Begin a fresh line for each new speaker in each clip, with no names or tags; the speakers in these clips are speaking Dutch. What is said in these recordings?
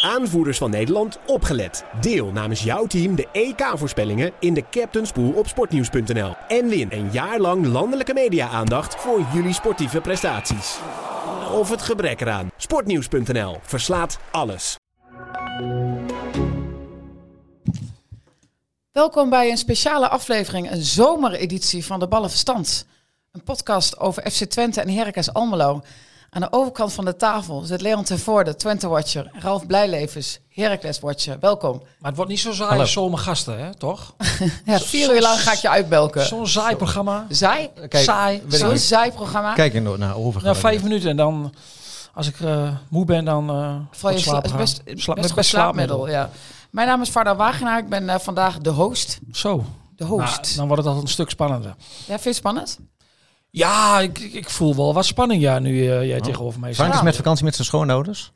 aanvoerders van Nederland opgelet. Deel namens jouw team de EK-voorspellingen in de Captain's Pool op sportnieuws.nl. En win een jaar lang landelijke media-aandacht voor jullie sportieve prestaties. Of het gebrek eraan. Sportnieuws.nl verslaat alles.
Welkom bij een speciale aflevering, een zomereditie van de Ballenverstand. Een podcast over FC Twente en Heracles Almelo. Aan de overkant van de tafel zit Leon Tervoorde, Twente-watcher. Ralf Blijlevens, Heracles-watcher. Welkom.
Maar het wordt niet zo saai als zomer gasten, hè? toch?
Ja, vier uur lang ga ik je uitbelken.
Zo'n saai programma.
Zij?
Kijk,
Saai.
weet ik
Zo'n
niet.
saai programma.
Kijk er nog naar over.
Na vijf minuten en dan, als ik eh, moe ben, dan eh
Val je
wat
sla-
slapen gaan.
best,
Sla-
best
met
goed slaapmiddel. Ja. Mijn naam is Varda Wagenaar. Ik ben eh, vandaag de host.
Zo.
De
Nou,
host.
dan wordt het al een stuk spannender.
ja, vind je het spannend?
Ja, ik, ik- ik voel wel wat spanning ja, nu eh, jij tegenover mij
Frank
staat.
is met vakantie met zijn schoonouders.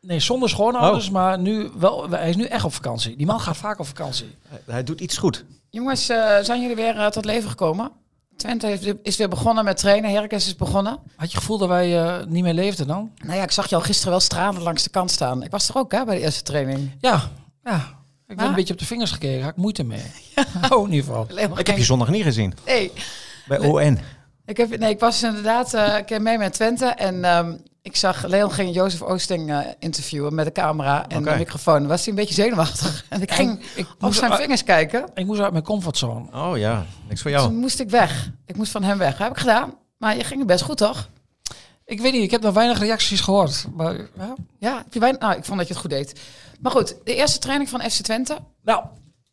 Nee, zonder schoonouders, maar nu wel, hij is nu echt op vakantie. Die man gaat vaak op vakantie.
Hij doet iets goed.
Jongens, eh, zijn jullie weer eh, tot leven gekomen? Twente heeft- is weer begonnen met trainen. Herkens is begonnen.
Had je gevoel dat wij eh, niet meer leefden dan?
Nou ja, ik zag jou gisteren wel stralend langs de kant staan. Ik was er ook hè, bij de eerste training.
Ja, ja. Ik ben
Maar-
een beetje op de vingers gekeken, daar had ik moeite mee. Oh, in ieder geval.
Leon,
Ik heb je zondag niet gezien.
nee,
Bij ON.
ik heb, nee, ik was inderdaad eh, een keer mee met Twente. En ehm, ik zag Leon ging Jozef Oosting eh, interviewen met de camera en
Oké.
de microfoon. Was hij een beetje zenuwachtig. En ik ging
Ik
op
moest
zijn
uit-
vingers kijken.
ik moest uit mijn comfortzone.
Oh ja, niks voor
Toen
jou.
moest ik weg. Ik moest van hem weg. heb ik gedaan. Maar je ging het best goed, toch?
Ik weet niet, ik heb nog weinig reacties gehoord. Maar, ja.
Ja, heb je bijna... nou, ik vond dat je het goed deed. Maar goed, de eerste training van FC Twente.
Nou,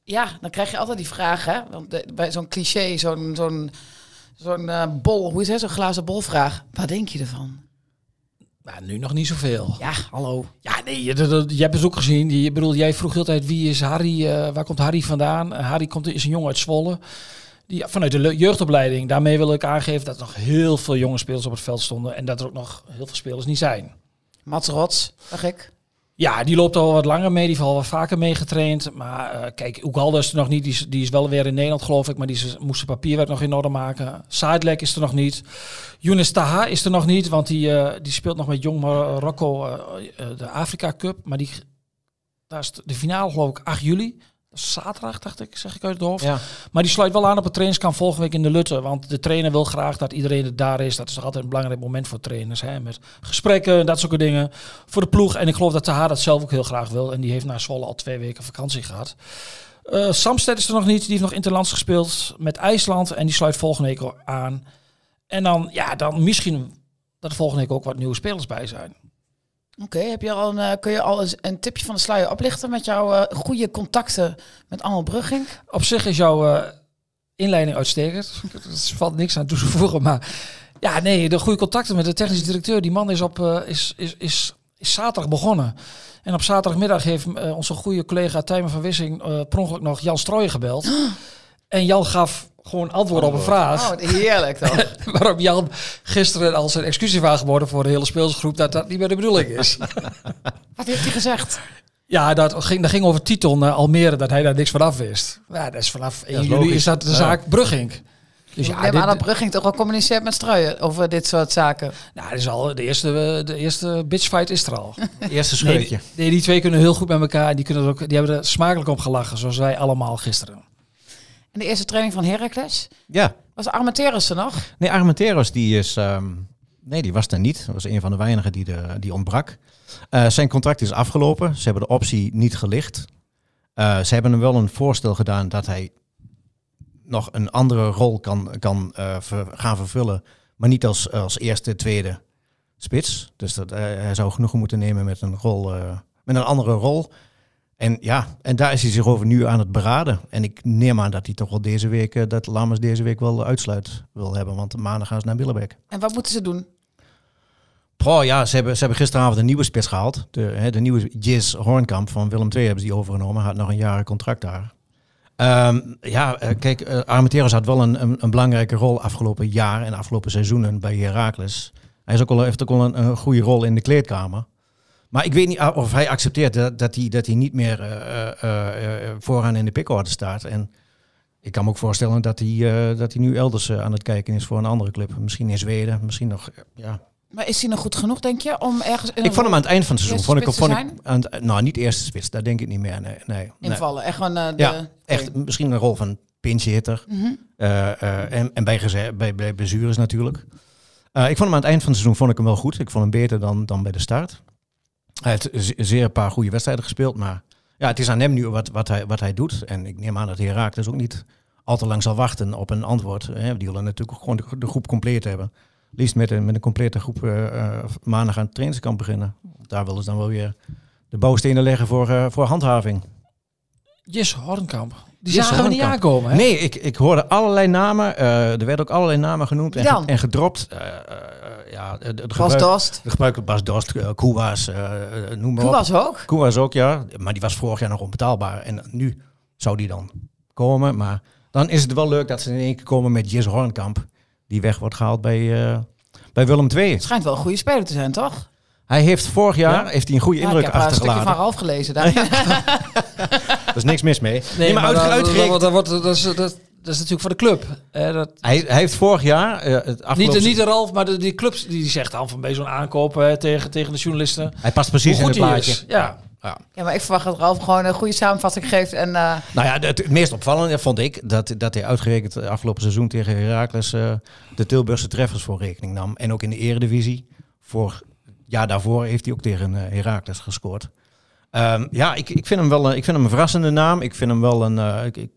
Ja, dan krijg je altijd die vraag, hè? Want de- bij zo'n cliché, zo'n zo'n zo'n eh, bol, hoe is het, zo'n glazen bolvraag. Wat denk je ervan?
nou, nu nog niet zoveel. Ja,
Ja, hallo.
nee, je, dat- dat- je hebt het ook gezien. Je, ik bedoel, jij vroeg heel de tijd wie is Harry, eh, waar komt Harry vandaan? Eh, Harry komt, is een jongen uit Zwolle. Die, vanuit de le- jeugdopleiding. Daarmee wil ik aangeven dat er nog heel veel jonge spelers op het veld stonden. En dat er ook nog heel veel spelers niet zijn.
Mats Rots, dacht ik.
Ja, die loopt al wat langer mee. Die heeft al wat vaker meegetraind. Maar eh kijk, Oegalde is er nog niet. Die is, die is wel weer in Nederland, geloof ik. Maar die is- moest zijn papierwerk nog in orde maken. Sidelek is er nog niet. Younes Taha is er nog niet. Want die, eh, die speelt nog met Jong Marokko eh, eh, de Afrika Cup. Maar die, daar is de finale, geloof ik, 8 juli. Dat is Zaterdag, dacht ik, zeg ik uit het hoofd.
Ja.
Maar die sluit wel aan op het trainingskamp volgende week in de Lutte. Want de trainer wil graag dat iedereen er daar is. Dat is toch altijd een belangrijk moment voor trainers. Hè? Met gesprekken en dat soort dingen. Voor de ploeg. En ik geloof dat Taha dat zelf ook heel graag wil. En die heeft naar Zwolle al twee weken vakantie gehad. Eh Samsted is er nog niet. Die heeft nog interlands gespeeld met IJsland. En die sluit volgende week aan. En dan, ja, dan misschien dat er volgende week ook wat nieuwe spelers bij zijn.
Oké, heb je al een, eh, kun je al eens een tipje van de sluier oplichten met jouw eh, goede contacten met Annel Brugging?
Op zich is jouw eh, inleiding uitstekend. Er valt niks aan toe te voegen. Maar ja, nee, de goede contacten met de technische directeur. Die man is, op, eh, is, is, is, is zaterdag begonnen. En op zaterdagmiddag heeft eh, onze goede collega Tijmen van Wissing eh per ongeluk nog Jan Strooijen gebeld. En Jan gaf gewoon antwoord op een vraag.
Oh, heerlijk dan.
Waarop Jan gisteren al zijn excuus heeft aangeboden voor de hele speelsgroep dat dat niet meer de bedoeling is.
Wat heeft hij gezegd?
Ja, dat ging, dat ging over Titon naar Almere, dat hij daar niks van af wist. Ja, dat is vanaf 1
is
juli
logisch.
is dat de
Ja.
zaak Brugging.
Dus
Dus ja,
ja,
dit,
Annel Brugging toch al communiceert met Struijen over dit soort zaken.
nou, dit is al de eerste, eh, de eerste bitchfight is er al.
Eerste
Nee, die,
scheutje.
nee, die twee kunnen heel goed met elkaar. en Die, kunnen er ook, die hebben er smakelijk om gelachen, zoals wij allemaal gisteren.
En de eerste training van Heracles
Ja.
was Armenteros er nog.
Nee, Armenteros die is... ehm, nee, die was er niet. Dat was een van de weinigen die, de, die ontbrak. Eh, zijn contract is afgelopen. Ze hebben de optie niet gelicht. Eh, ze hebben hem wel een voorstel gedaan dat hij nog een andere rol kan, kan eh, ver- gaan vervullen. Maar niet als, als eerste, tweede spits. Dus dat, eh, hij zou genoegen moeten nemen met een, rol, eh, met een andere rol. En ja, en daar is hij zich over nu aan het beraden. En ik neem aan dat hij toch wel deze week, eh, dat Lammers deze week wel uitsluit wil hebben. Want maandag gaan ze naar Billebek.
En wat moeten ze doen?
Oh ja, ze hebben, ze hebben gisteravond een nieuwe spits gehaald. De, hè, de nieuwe Jis Hornkamp van Willem II hebben ze die overgenomen. Had nog een jaren contract daar. Ehm, ja, eh, kijk, eh Armenteros had wel een, een, een belangrijke rol afgelopen jaar en afgelopen seizoenen bij Heracles. Hij is ook al, heeft ook al een, een goede rol in de kleedkamer. Maar ik weet niet ah, of hij accepteert dat, dat, hij, dat hij niet meer eh, eh, eh, eh, vooraan in de pickorde staat. En ik kan me ook voorstellen dat hij, eh, dat hij nu elders eh, aan het kijken is voor een andere club. Misschien in Zweden, misschien nog eh, ja,
Maar is hij nog goed genoeg, denk je, om ergens in
Ik vond hem aan het eind van het seizoen.
Eerste
Vond ik,
spits te
vond ik, aan het- nou, niet eerste spits, daar denk ik niet meer. Nee, nee, nee.
invallen? Echt gewoon eh, de...
Ja, echt misschien een rol van pinch hitter.
Mhm.
Eh, eh, en, en bij, geze- bij, bij blessures natuurlijk. Eh, ik vond hem aan het eind van het seizoen vond ik hem wel goed. Ik vond hem beter dan, dan bij de start. Hij heeft ze- zeer een paar goede wedstrijden gespeeld. Maar ja, het is aan hem nu wat, wat, hij, wat hij doet. En ik neem aan dat Herakles ook niet al te lang zal wachten op een antwoord. Hè. Die willen natuurlijk ook gewoon de, de groep compleet hebben. Liefst met een, met een complete groep eh, eh, maandag aan het trainingskamp beginnen. Daar willen ze dan wel weer de bouwstenen leggen voor, eh, voor handhaving.
Jis Hornkamp. Die
Jesse
zagen we niet
Hornkamp.
aankomen. Hè?
Nee, ik, ik hoorde allerlei namen. eh, er werden ook allerlei namen genoemd en,
Wie dan?
ge- en gedropt. Eh, eh, ja, de, de
Bas
gebruik-
Dost.
De gebruiker Bas Dost, eh, Koewaas, eh, eh, noem maar
Toen
op.
was ook.
Koewaas ook, ja. Maar die was vorig jaar nog onbetaalbaar. En nu zou die dan komen. Maar dan is het wel leuk dat ze in één keer komen met Jis Hornkamp. Die weg wordt gehaald bij, eh, bij Willem II.
Schijnt wel een goede speler te zijn, toch?
Hij heeft vorig jaar
Ja? Nou,
heeft hij een goede
Ja, ik
indruk
heb eh, een stukje
achtergelaten.
van Ralf gelezen. Daar.
Er is niks mis mee. Nee, maar,
maar
uitge-
dat- dat-
uitgerekend-
dat- dat wordt- dat is- Dat dat is natuurlijk voor de club. hè, dat,
Hij, hij heeft vorig jaar... eh, het
niet,
afgelopen
de, niet de Ralf, maar de, die clubs die zegt dan van bij zo'n aankoop hè, tegen, tegen de journalisten.
Hij past
hoe
precies in
goed
het
hij
plaatje.
is. Ja.
Ja, maar ik verwacht dat Ralf gewoon een goede samenvatting geeft. En eh,
Nou ja, het, het meest opvallende vond ik dat, dat hij uitgerekend eh, afgelopen seizoen tegen Heracles eh, de Tilburgse treffers voor rekening nam. En ook in de eredivisie. Vorig jaar daarvoor heeft hij ook tegen eh, Heracles gescoord. Ehm, ja, ik, ik, vind hem wel, een- ik vind hem een verrassende naam. Ik vind hem wel een... eh, ik, ik-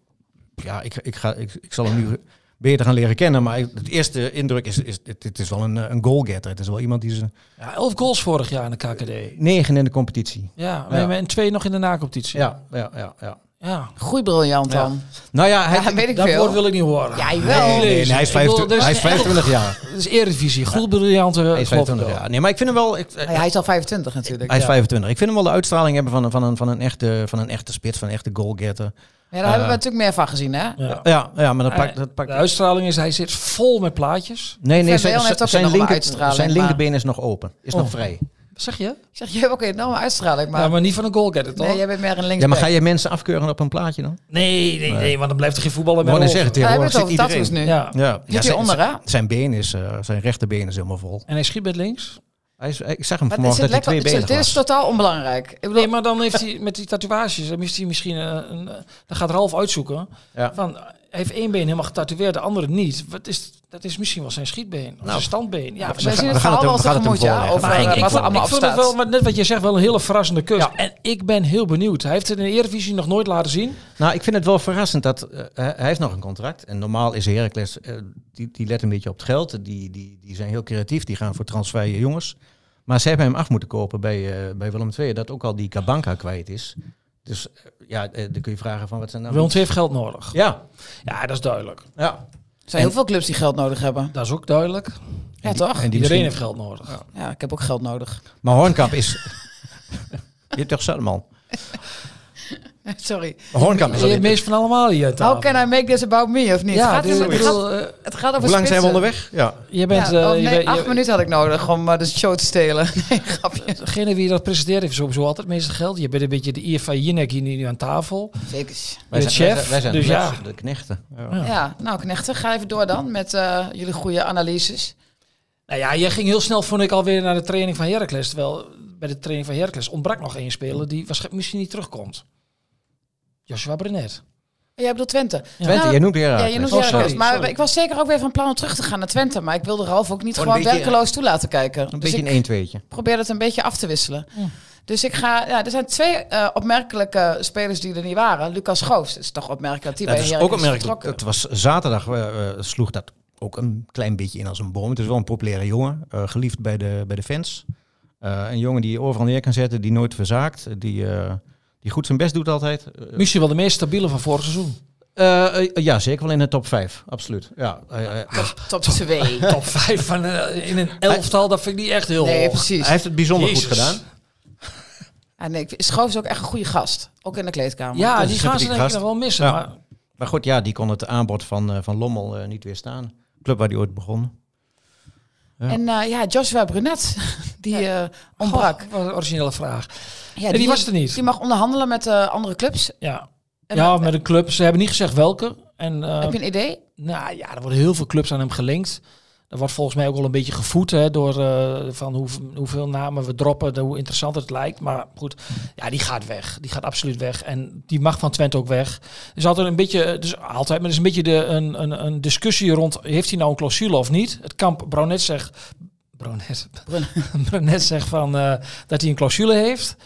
ja, ik, ik, ga, ik, ik zal hem nu beter gaan leren kennen. Maar het eerste indruk is, is het, het is wel een, eh, een goalgetter. Het is wel iemand die zijn
ja, elf goals vorig jaar in de KKD.
negen in de competitie.
Ja,
Ja.
en twee nog in de nacompetitie.
Ja, ja, ja. ja.
ja.
groeibriljant
Ja.
dan.
Nou ja, hij,
Ja, weet ik
Dat
veel.
woord wil ik niet horen.
Ja, jawel.
nee, nee, nee, hij is
Ik wil-
25
dus-
hij is 25 jaar.
Dat is Eredivisie. Goed briljante
Hij is 25 jaar. Nee, maar ik vind hem wel. ik- eh,
Maar Ah, ja, hij is al 25 natuurlijk.
hij is
ja.
25. Ik vind hem wel de uitstraling hebben van een, van een, van een, echte, van een echte spits, van een echte goalgetter.
Ja, daar hebben we
Eh,
natuurlijk meer van gezien, hè?
Ja.
Ja, ja, maar dat
Ah,
Eh,
pakt. Dat pakt
De uitstraling is, hij zit vol met plaatjes.
nee,
Van Leeuwen heeft ook nog wel uitstraling,
zijn
maar-
linkerbeen is nog open. Is nog
Oh.
vrij.
Wat zeg je?
Ik zeg, je hebt ook een enorme uitstraling, maar,
ja, maar niet van een goalgetter, toch?
nee, jij bent meer een linksback.
Ja, maar ga je mensen afkeuren op een plaatje dan?
nee, nee, nee, want dan blijft er geen voetballer meer
Gewoon
over.
zeggen,
Ja, we hebben
tegenwoordig
het
zit
over tattoos
iedereen.
nu.
Ja.
Ja, ja,
Zit
zijn,
hieronder, hè?
zijn been is, eh, zijn rechterbeen is helemaal vol.
En hij schiet met links.
Hij is, ik zag hem
Maar het
vanmorgen
zit
dat hij
lekker,
twee
het
benen
zit- dit is
was.
totaal onbelangrijk. Ik bedoel,
Nee, maar dan heeft hij met die tatoeages, dan heeft hij misschien eh, een, eh, dan gaat Ralf uitzoeken.
Ja.
Van, eh, hij heeft één been helemaal getatoeëerd, de andere niet. Wat is, dat is misschien wel zijn schietbeen of
Nou,
zijn standbeen. Ja,
we
wij
maar,
gaan-
zien het
we gaan het
verhaal
hem-
wel
we gaan het hem
tegemoet, ja?
voorleggen.
Over
Maar
ik,
eh,
ik,
wat er
voorleggen.
allemaal op
ik vond het
staat.
wel, maar net wat je zegt, wel een hele verrassende keuze. En ik ben heel benieuwd. Hij heeft het in de Eredivisie nog nooit laten zien.
Nou, ik vind het wel verrassend dat eh, hij heeft nog een contract. En normaal is Heracles, eh, die, die let een beetje op het geld. Die, die, die zijn heel creatief, die gaan voor transferje jongens. Maar ze hebben hem af moeten kopen bij, eh, bij Willem II, dat ook al die Kabanka kwijt is. Dus eh, ja, eh, dan kun je vragen van wat zijn nou...
Willem II heeft geld nodig.
Ja,
Ja, dat is duidelijk.
ja.
Er zijn heel veel clubs die geld nodig hebben.
Dat is ook duidelijk.
Ja, toch?
En die
Iedereen
misschien...
heeft geld nodig.
Ja, ik heb ook geld nodig.
Maar Hornkamp is... je hebt toch Salman?
Sorry.
Hornkamp
Je
is
hebt
al
het meest van allemaal hier aan tafel.
How can I make this about me, of niet?
Ja,
het, gaat
dus,
dus-
ik
het, gaat,
bedoel, eh,
het gaat over
Hoe lang zijn we
spitsen.
onderweg? Ja.
je bent...
Ja,
eh,
oh,
je
nee,
bent-
acht
je-
minuten had ik nodig om eh, de show te stelen. Nee, grapje.
Degene wie dat presenteert heeft sowieso altijd het meeste geld. Je bent een beetje de IFA Jinek hier nu aan tafel.
Zeker.
Wij
De
zijn, wij
chef,
zijn, wij zijn
dus
de,
ja.
knechts- de knechten.
Ja.
Ja, nou knechten, ga even door dan met eh, jullie goede analyses.
Nou ja, jij ging heel snel, vond ik, alweer naar de training van Heracles. Terwijl bij de training van Heracles ontbrak nog één speler die waarschijnlijk misschien niet terugkomt. Joshua Brenet.
Oh, Jij bedoelt Twente.
Twente,
Nou,
jij noemt
Ja,
Heracles.
je noemt
Oh,
Heracles.
sorry,
maar
sorry.
ik was zeker ook weer van plan om terug te gaan naar Twente. Maar ik wilde Ralf ook niet
Gewoon
gewoon
een beetje-
werkeloos toe laten kijken.
Een
dus
beetje
ik
een 1-2'tje.
probeer het een beetje af te wisselen. Dus ik ga, ja, er zijn twee eh, opmerkelijke spelers die er niet waren. Lucas Goos is toch opmerkelijk dat die
Dat
bij
is
Heracles
ook opmerkelijk.
vertrokken.
Het was zaterdag, eh, eh, sloeg dat ook een klein beetje in als een bom. Het is wel een populaire jongen, eh, geliefd bij de, bij de fans. Eh, een jongen die overal neer kan zetten, die nooit verzaakt, die, eh, die goed zijn best doet altijd. Eh,
Misschien wel de meest stabiele van vorig seizoen.
eh, eh, ja, zeker wel in de top 5, absoluut. Ja, eh, eh,
Top- Top 2.
Top 5 van, eh, in een elftal, dat vind ik niet echt heel
Nee,
hoog.
precies.
hij heeft het bijzonder goed
Jezus.
gedaan.
Ja, nee, ik vind- Schoofs is ook echt een goede gast. Ook in de kleedkamer.
Ja,
Dat is
die
een
gaan ze
sympathieke
denk ik
gast.
nog wel missen.
Ja.
Maar
Maar goed, ja, die kon het aanbod van, eh, van Lommel eh, niet weerstaan. Club waar hij ooit begon. Ja.
En eh, ja, Joshua Brunet, die eh, ontbrak.
Goh, wat een originele vraag.
Ja,
die was er niet.
Die mag onderhandelen met eh, andere clubs.
Ja.
En
ja,
dan-
met een club. Ze hebben niet gezegd welke. En, eh,
Heb je een idee?
Nou ja, er worden heel veel clubs aan hem gelinkt. Dat wordt volgens mij ook wel een beetje gevoed hè, door eh, van hoe, hoeveel namen we droppen, de- hoe interessant het lijkt. Maar goed, ja, die gaat weg. Die gaat absoluut weg. En die mag van Twente ook weg. Er is altijd een beetje, eh, dus altijd, maar er is een beetje de, een, een, een discussie rond, heeft hij nou een clausule of niet? Het kamp Bronet zegt, Bronet, Bronet zegt van, eh, dat hij een clausule heeft.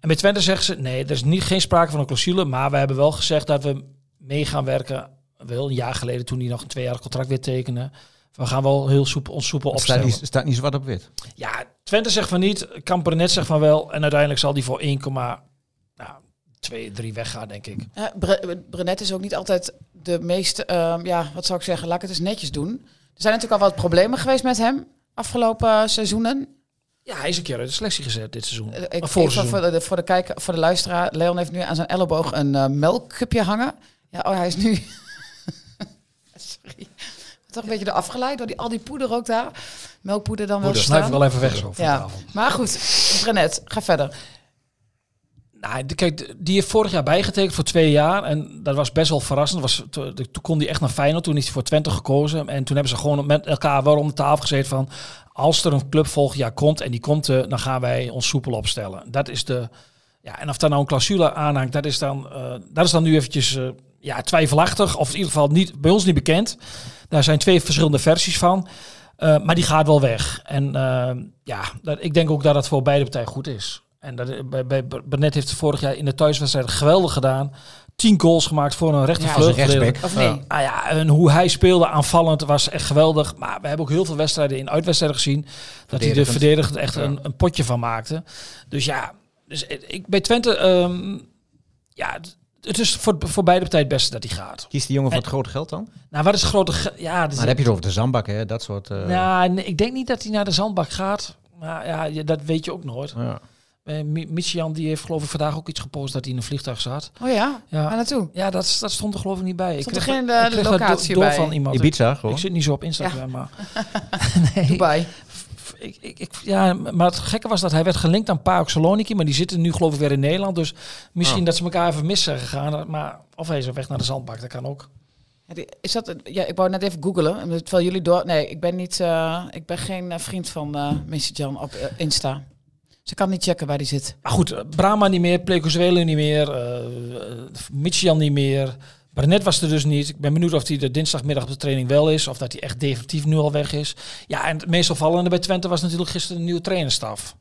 En bij Twente zeggen ze, nee, er is niet, geen sprake van een clausule, maar we hebben wel gezegd dat we mee gaan werken. Wel een jaar geleden toen hij nog een tweejarig contract weer tekende. We gaan wel heel soepel, ons soepel
Het staat
opstellen.
niet, staat niet zwart op wit.
Ja, Twente zegt van niet, Kampernet zegt van wel. En uiteindelijk zal die voor 1,2, 3 weggaan, denk ik.
Ja, Bre- Brenet is ook niet altijd de meest, ehm, ja, wat zou ik zeggen, laat ik het eens netjes doen. Er zijn natuurlijk al wat problemen geweest met hem afgelopen seizoenen.
Ja, hij is een keer uit de selectie gezet dit seizoen.
Eh, Ik,
Of
even
vorig
voor,
seizoen.
de, voor, de kijker, voor de luisteraar, Leon heeft nu aan zijn elleboog een eh, melkkupje hangen. Ja, oh, hij is nu... Sorry. Toch een beetje door afgeleid door die, al die poeder ook daar. Melkpoeder dan wel
Goed, snuif ik
staan.
wel even weg zo van
Ja,
tafel.
maar goed, Brenet, ga verder.
Nou, de- kijk, die heeft vorig jaar bijgetekend voor twee jaar. En dat was best wel verrassend. Was, to- de- toen kon hij echt naar Feyenoord. Toen is hij voor Twente gekozen. En toen hebben ze gewoon met elkaar wel om de tafel gezeten van... als er een club volgend jaar komt en die komt, eh, dan gaan wij ons soepel opstellen. Dat is de... Ja, en of daar nou een clausule aanhangt, dat is dan, eh, dat is dan nu eventjes eh, ja, twijfelachtig. Of in ieder geval niet, bij ons niet bekend. Daar zijn twee verschillende versies van. Eh, maar die gaat wel weg. En eh, ja, dat, ik denk ook dat dat voor beide partijen goed is. En dat, eh, bij, bij Burnett heeft het vorig jaar in de thuiswedstrijd geweldig gedaan. Tien goals gemaakt voor een
Ja,
Als een
rechtervleugel.
rechtsback.
Of nee?
Ah ja, en hoe hij speelde aanvallend was echt geweldig. Maar we hebben ook heel veel wedstrijden in uitwedstrijden gezien. Dat hij er
Verdedigend.
verdedigend echt
Ja.
een, een potje van maakte. Dus ja, dus ik, bij Twente, ehm, ja, het- het is voor, voor beide partijen het beste dat hij gaat.
Kiest die jongen voor het grote geld dan? Maar
Nou, wat is het grote... ge- Ja, dus
dan heb je het over de zandbak, hè? Dat soort... eh,
nou, nee, ik denk niet dat hij naar de zandbak gaat. Maar ja, je- dat weet je ook nooit.
ja.
Eh, Mi- Michian die heeft geloof ik vandaag ook iets gepost dat hij in een vliegtuig zat.
Oh ja,
Ja.
Ah.
waar naartoe?
Ja, dat, s- dat stond er geloof ik niet bij.
Stond
ik
er
kreeg
geen,
dat- ik
eh,
kreeg dat do-
locatie
door
bij?
van iemand.
Ibiza
Ik
gewoon.
zit niet zo op Instagram, maar... nee,
Dubai.
f- ik, ik, ik- ja, maar het gekke was dat hij werd gelinkt aan Paok Saloniki, maar die zitten nu geloof ik weer in Nederland. Dus misschien dat ze elkaar even mis zijn gegaan. Maar, of hij is weg naar de zandbak, dat kan ook.
Ja, die- Is dat, een- ja, ik wou net even googelen. en Terwijl jullie door. Nee, ik ben, niet, eh, ik ben geen eh, vriend van eh Missy Jan op eh, Insta. Ze kan niet checken waar die zit.
Maar goed, eh, Brahma niet meer, Plekozuelo niet meer, eh eh, Michian niet meer. Barnet was er dus niet. Ik ben benieuwd of hij de dinsdagmiddag op de training wel is. Of dat hij echt definitief nu al weg is. Ja, en het meest opvallende bij Twente was natuurlijk gisteren een nieuwe trainerstaf.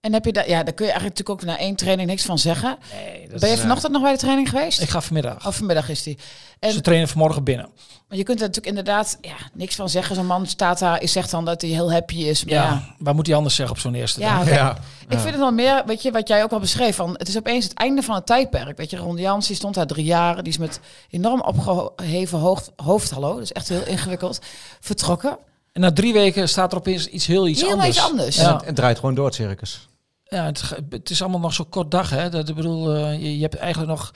En heb je daar, ja, daar kun je eigenlijk natuurlijk ook na één training niks van zeggen.
Nee, eh,
ben je vanochtend nog bij de training geweest?
Ik ga vanmiddag.
Of vanmiddag is die. Oh, En
Ze trainen vanmorgen binnen.
maar je kunt er natuurlijk inderdaad ja, niks van zeggen. Zo'n man staat daar, is zegt dan dat hij heel happy is. Maar
Ja,
ja,
waar moet hij anders zeggen op zo'n eerste
Ja,
dag?
oké.
Ja.
Ik vind het wel meer, weet je, wat jij ook al beschreef. Van, het is opeens het einde van het tijdperk. Weet je, Ron Jans, die stond daar drie jaar. Die is met enorm opgeheven hoofd, hoofd hallo, dat is echt heel ingewikkeld, vertrokken.
En na drie weken staat er opeens iets heel iets
Heel
anders.
iets anders.
Ja,
En het draait gewoon door het circus.
ja het, ge- het is allemaal nog zo'n kort dag. Hè. Dat, ik bedoel, eh, je, je hebt eigenlijk nog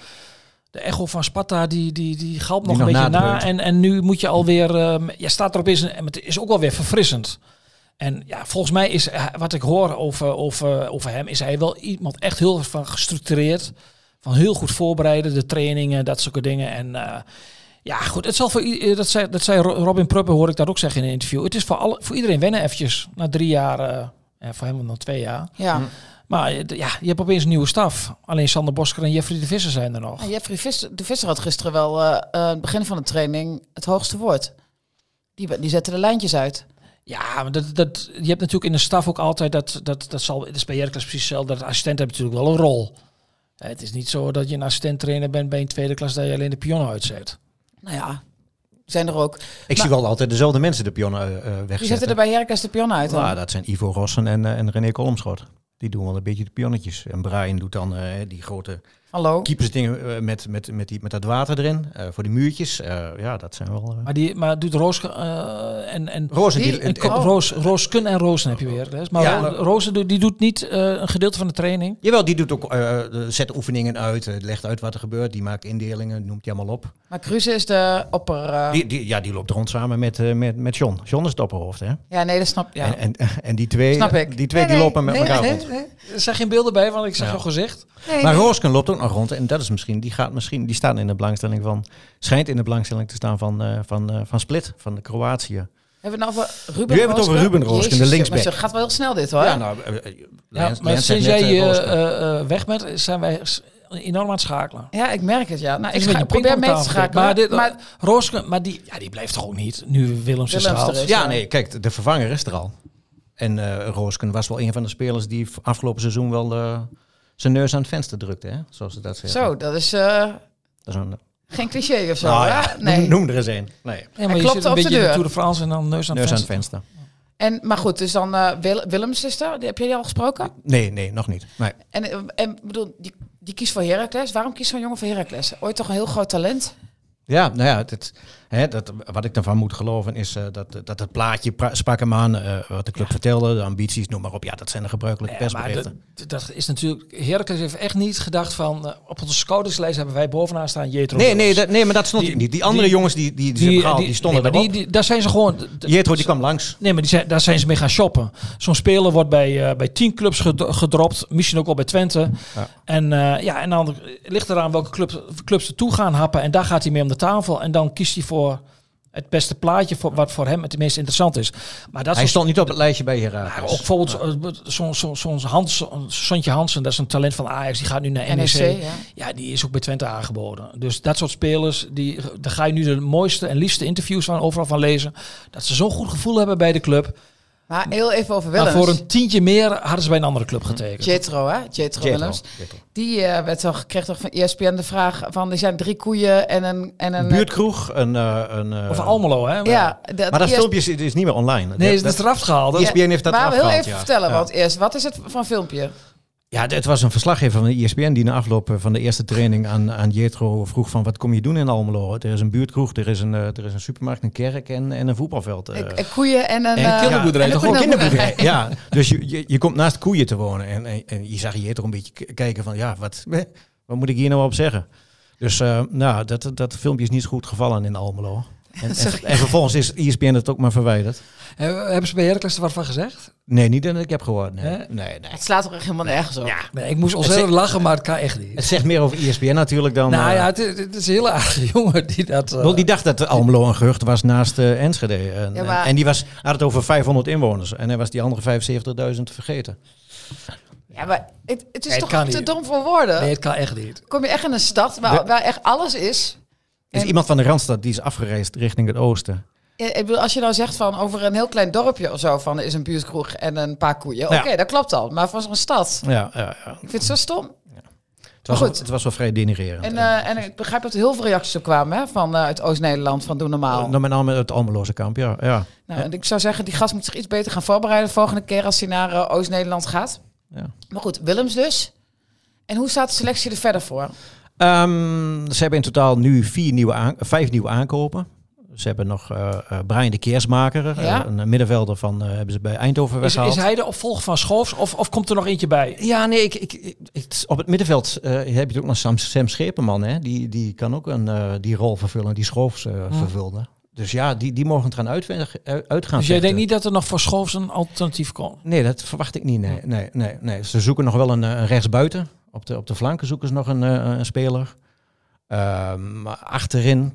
de echo van Sparta, die, die, die galmt nog
nog
een beetje na.
nadreunt.
En, en nu moet je alweer, ehm je staat er opeens, en het is ook wel weer verfrissend. En ja, volgens mij is eh, wat ik hoor over, over, over hem, is hij wel iemand echt heel van gestructureerd. Van heel goed voorbereiden, de trainingen, dat soort dingen. En eh, ja, goed, het zal voor i- eh, dat zei, dat zei Ro- Robin Pruppen, hoor ik dat ook zeggen in een interview. Het is voor, alle, voor iedereen wennen eventjes, na drie jaar, eh, en voor hem dan twee jaar.
Ja.
Hm.
Maar eh, d- ja, je hebt opeens een nieuwe staf. Alleen Sander Bosker en Jeffrey de Visser zijn er nog.
En Jeffrey Visser, de Visser had gisteren wel eh, eh, aan het begin van de training het hoogste woord. Die, die zette de lijntjes uit.
Ja, maar dat, dat, je hebt natuurlijk in de staf ook altijd dat, dat, dat zal, het is bij Heracles precies hetzelfde, dat assistenten hebben natuurlijk wel een rol. Eh, Het is niet zo dat je een assistent trainer bent bij een tweede klas dat je alleen de pion uitzet.
Nou ja, zijn er ook.
Ik zie wel altijd dezelfde mensen de pionnen eh, eh, wegzetten.
Die zetten er bij Herkens de pion uit. dan?
Nou, dat zijn Ivo Rossen en, eh, en René Kolmschot. Die doen wel een beetje de pionnetjes. En Brian doet dan eh, die grote
Hallo.
keepersdingen eh, met, met, met, die, met dat water erin. eh, voor de muurtjes. Eh, ja, dat zijn wel... eh
Maar, die, maar doet Roos eh, en, en,
Rozen,
die-
die,
en
en- en-
Oh.
Roos, Rooskun en Roosen heb je weer. hè. Maar
Ja.
Ro- Roosen doet- die doet niet eh, een gedeelte van de training.
jawel, die doet ook, eh, zet oefeningen uit, eh, legt uit wat er gebeurt. Die maakt indelingen, noemt die allemaal op.
Maar Kruse is de opper... eh,
Die, die, ja, die loopt rond samen met, eh, met, met John. John is het opperhoofd, hè?
ja, nee, dat snap, ja.
En, en, en die twee,
snap ik.
Die twee
Nee,
die
nee,
lopen met
nee,
elkaar
nee,
rond.
nee,
Er zijn geen beelden bij, want ik zag
Ja.
jouw gezicht.
nee,
Maar
nee.
Roosken loopt ook nog rond. En dat is misschien, die gaat misschien, die staat in de belangstelling van, schijnt in de belangstelling te staan van, eh, van, eh, van Split, van de Kroatië.
Hebben we het nou over Ruben
Nu hebben we het over Ruben Rooske, de
Jezus,
linksback.
maar Het gaat wel heel snel dit hoor.
Ja, nou, eh, eh,
Ja,
Lens-
maar
Lens
sinds
zegt
jij
net, eh,
eh,
Rooske.
eh, eh, weg bent, zijn wij s- enorm aan het schakelen.
Ja, ik merk het ja. Nou,
Het
ik
is
ga,
een
ik
beetje
probeer mee te
pingpongtafel,
schakelen.
Maar, dit,
maar
Rooske, maar die, ja, die blijft gewoon niet. Nu Willems is
Willems er
gehaald.
is.
ja, nee, kijk, de vervanger is er al. En eh Roosken was wel een van de spelers die v- afgelopen seizoen wel eh, zijn neus aan het venster drukte, hè? zoals ze dat zeggen.
zo, dat is eh,
Dat is een,
geen cliché of zo.
Nou
hè?
ja,
nee.
noem, noem er eens een. Nee,
Nee,
Hij
maar je
klopte
zit een
op de
beetje in
deur.
de Tour de France en dan neus aan het
neus aan het
venster.
venster.
En, maar goed, dus dan eh, Wil- Willems is er. Die heb je die al gesproken?
Nee, nee, nog niet. Nee.
En, eh, en bedoel, die, die kiest voor Heracles. Waarom kiest zo'n jongen voor Heracles? Ooit toch een heel groot talent?
Ja, nou ja, dit, hè, dat, wat ik daarvan moet geloven is eh, dat, dat het plaatje pra- sprak hem aan, eh, wat de club vertelde, de ambities, noem maar op. Ja, dat zijn de gebruikelijke
Ja, maar
persberichten.
dat- dat is natuurlijk... Heracles heeft echt niet gedacht van... eh, op onze scoutinglijst hebben wij bovenaan staan Jetro
Nee, nee,
Willems.
dat, nee, maar dat stond
Die-
die, niet. Die andere
die-
jongens die, die, die, ze hebben gehaald, die, stonden
nee, maar
erop.
die, die- Daar zijn ze gewoon... d- d-
Jetro die kwam langs.
Nee, maar die zijn, daar zijn ze mee gaan shoppen. Zo'n speler wordt bij, eh, bij tien clubs ged- gedropt. Misschien ook wel bij Twente.
Ja.
En, eh, ja, en dan ligt eraan welke club, clubs er toe gaan happen. En daar gaat hij mee om de tafel. En dan kiest hij voor het beste plaatje voor, wat voor hem het meest interessant is. Maar dat
Hij
is
stond niet op het lijstje bij
ook
Heracles.
bijvoorbeeld eh, zo'n zo, zo'n Hans, Sontje Hansen, dat is een talent van Ajax. Die gaat nu
E
naar NEC.
E ja.
Ja, die is ook bij Twente aangeboden. Dus dat soort spelers, die, daar ga je nu de mooiste en liefste interviews van overal van lezen. Dat ze zo'n goed gevoel hebben bij de club.
Maar heel even over
Maar
Willems.
voor een tientje meer hadden ze bij een andere
Hm.
club getekend.
Jetro, hè? Jetro
Jetro,
Willems.
Jetro.
Die eh, werd toch, kreeg toch van ESPN de vraag van... er zijn drie koeien en een... En een
Een buurtkroeg, een... eh, een eh,
Of Almelo, hè?
Ja, E dat
maar dat
ES
filmpje is, is niet meer online.
Nee,
Dat-
dat is eraf gehaald. hè?
Ja. ESPN heeft dat
Maar we heel
afgehaald,
even
ja.
vertellen,
Ja.
want eerst, wat is het van filmpje?
Ja, d- het was een verslaggever van de ESPN die na afloop eh, van de eerste training aan, aan Jetro vroeg van wat kom je doen in Almelo? Er is een buurtkroeg, er is een, eh, er is een supermarkt, een kerk en, en een voetbalveld. eh.
Een- een koeien en een...
en
eh,
kinderboerderij,
en een
toch ook?
kinderboerderij.
ja, dus je, je, je komt naast koeien te wonen en, en, en je zag Jetro een beetje k- kijken van ja, wat, eh, wat moet ik hier nou op zeggen? Dus eh, nou, dat, dat filmpje is niet goed gevallen in Almelo. En, en,
Sorry.
en vervolgens is E ESPN het ook maar verwijderd.
Hebben hebben ze bij Heracles er wat van gezegd?
Nee, niet dat ik heb gehoord. Nee,
Hè?
nee, nee.
Het slaat toch echt helemaal nergens op?
Nee, ik moest ontzettend lachen, maar het kan echt niet.
Het zegt meer over E ESPN natuurlijk dan...
nou
eh,
ja, het, is- het is een hele aardige jongen die dat... eh,
Wel, die dacht dat Almelo een gehucht was naast eh, Enschede. En,
Ja, maar-
en die was, had het over 500 inwoners. En hij was die andere 75.000 vergeten.
Ja, maar het, het is
Nee, het
toch
kan
te
niet.
dom voor woorden?
nee, het kan echt niet.
Kom je echt in een stad waar,
De-
waar echt alles is?
Er is
En-
Dus iemand van de Randstad die is afgereisd richting het oosten.
Ja, Ik bedoel, als je nou zegt van over een heel klein dorpje of zo van er is een buurtkroeg en een paar koeien. Oké,
Ja.
dat klopt al. Maar voor zo'n stad,
Ja, ja, ja.
ik vind het zo stom.
Het, was
goed.
wel, het was wel vrij denigrerend.
En, eh, en ik begrijp dat er heel veel reacties op kwamen hè, van eh, uit Oost-Nederland van doe normaal.
Eh, dan met name het Almeloze kamp, ja. ja.
nou, en ik zou zeggen, die gast moet zich iets beter gaan voorbereiden de volgende keer als hij naar eh, Oost-Nederland gaat.
Ja.
Maar goed, Willems dus. En hoe staat de selectie er verder voor?
Ehm, ze hebben in totaal nu vier nieuwe aan- vijf nieuwe aankopen. Ze hebben nog eh, eh, Brian de Keersmaker, eh,
Ja.
een middenvelder van, eh, hebben ze bij Eindhoven
Is,
weggehaald.
is hij de opvolger van Schoofs of, of komt er nog eentje bij? Dus
Ja, nee, ik, ik, ik- het- op het middenveld eh, heb je het ook nog Sam, Sam Schepenman. Hè? Die, die kan ook een, eh, die rol vervullen, die Schoofs eh, vervulde. Dus ja, die, die mogen het gaan uitweg- uit- uitgaan.
Dus jij
vechten.
denkt niet dat er nog voor Schoofs een alternatief komt?
Nee, dat verwacht ik niet. Nee, nee, nee, nee. Ze zoeken nog wel een, eh, een rechtsbuiten. Op de, op de flanken zoeken ze nog een, eh, een speler. Ehm, maar achterin,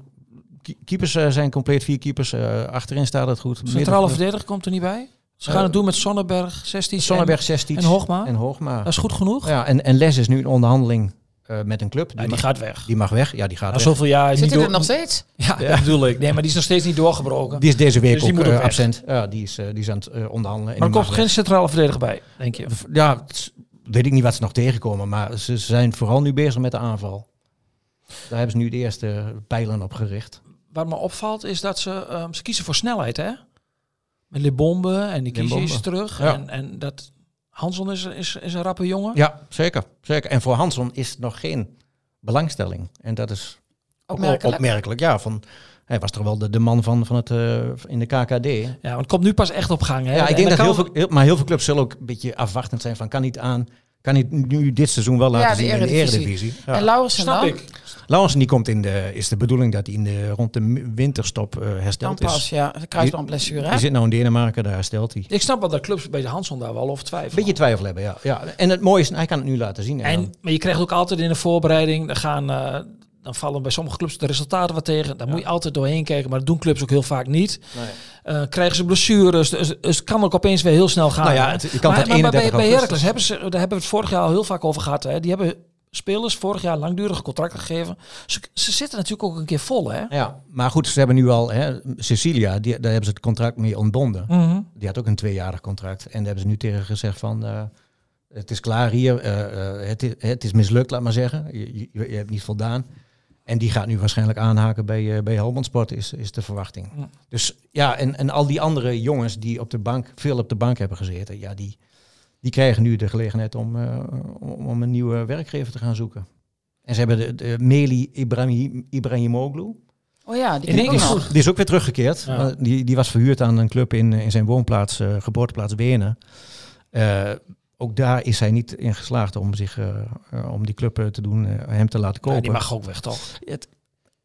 kie- keepers eh, zijn compleet vier keepers. Eh, achterin staat het goed.
Centrale
Midden-
verdediger komt er niet bij? Ze
Eh,
gaan het doen met Sonnenberg, 16.
Sonnenberg 16.
en Hoogma?
En Hoogma.
Dat is goed genoeg?
Ja, en, en Les is nu in onderhandeling eh, met een club.
Ja, die
mag-
gaat weg.
Die mag weg. Ja, die gaat
Na
weg.
zoveel jaar is
Zit
niet
hij
door...
er nog steeds?
Ja, dat bedoel ik. Nee, maar die is nog steeds niet doorgebroken.
Die is deze week
Dus die
ook,
moet
eh,
ook weg.
absent. Ja, die is, eh, die is aan het eh, onderhandelen. en
maar er
die
komt
mag
geen centrale verdediger bij, denk je.
weg. Ja, het is- weet ik niet wat ze nog tegenkomen. Maar ze zijn vooral nu bezig met de aanval. Daar hebben ze nu de eerste pijlen op gericht.
Wat me opvalt is dat ze, ehm, ze kiezen voor snelheid, hè? Met Libombe en die kiezen
Lebombe.
is terug.
Ja.
En, en dat Hanson is, is, is een rappe jongen.
Ja, zeker. zeker. En voor Hanson is het nog geen belangstelling. En dat is ook
Opmerkelijk.
opmerkelijk. Ja, van, hij was toch wel de, de man van, van het, eh, in de KKD.
Ja, want het komt nu pas echt op gang. Hè?
Ja, ik
En
denk dat
kan-
heel veel, heel- maar heel veel clubs zullen ook een beetje afwachtend zijn van kan niet aan, kan niet nu dit seizoen wel laten
de
zien in de
Eredivisie.
Eredivisie.
En
Ja.
Laurensen
Snap
dan?
ik.
Laurensen die komt in de, is de bedoeling dat hij in de, rond de mi- winterstop eh,
Dan
hersteld
pas,
is.
ja. Een Kruisbandblessure, hè?
Hij zit nou in Denemarken, daar herstelt hij.
Ik snap wel dat clubs bij de Hanson daar wel over twijfelen.
Beetje twijfel hebben, ja. ja. En het mooie is, hij kan het nu laten zien. En,
En, maar je krijgt ook altijd in de voorbereiding, er gaan, eh, Dan vallen bij sommige clubs de resultaten wat tegen. Daar moet je altijd doorheen kijken. Maar dat doen clubs ook heel vaak niet. Eh, krijgen ze blessures. Dus, dus het kan ook opeens weer heel snel gaan.
Nou ja,
hè.
het- je kan
maar,
tot
maar, maar bij,
31
bij Heracles
augustus.
hebben ze, daar hebben we het vorig jaar al heel vaak over gehad. Hè. Die hebben spelers vorig jaar langdurige contracten gegeven. Ze, ze zitten natuurlijk ook een keer vol. Hè.
Ja, maar goed, ze hebben nu al, hè, Cecilia, die, daar hebben ze het contract mee ontbonden.
Mhm.
Die had ook een tweejarig contract. En daar hebben ze nu tegen gezegd van, eh, het is klaar hier, eh, eh, het, is, het is mislukt, laat maar zeggen. Je, je, je hebt niet voldaan. En die gaat nu waarschijnlijk aanhaken bij, eh, bij Helmond Sport, is, is de verwachting.
Ja.
Dus ja, en, en al die andere jongens die op de bank, veel op de bank hebben gezeten, ja, die, die krijgen nu de gelegenheid om, eh, om, om een nieuwe werkgever te gaan zoeken. En ze hebben de, de Meli Ibrahim, Ibrahimoglu.
Oh ja, die
In
ken ik
één keer
nog.
goed.
Die is ook weer teruggekeerd.
Ja.
Maar Die, die was verhuurd aan een club in, in zijn woonplaats, eh, geboorteplaats Wenen. Eh, ook daar is hij niet in geslaagd om, zich, eh, eh, om die club eh, te doen, eh, hem te laten
Ja,
kopen.
die mag ook weg toch?
Het-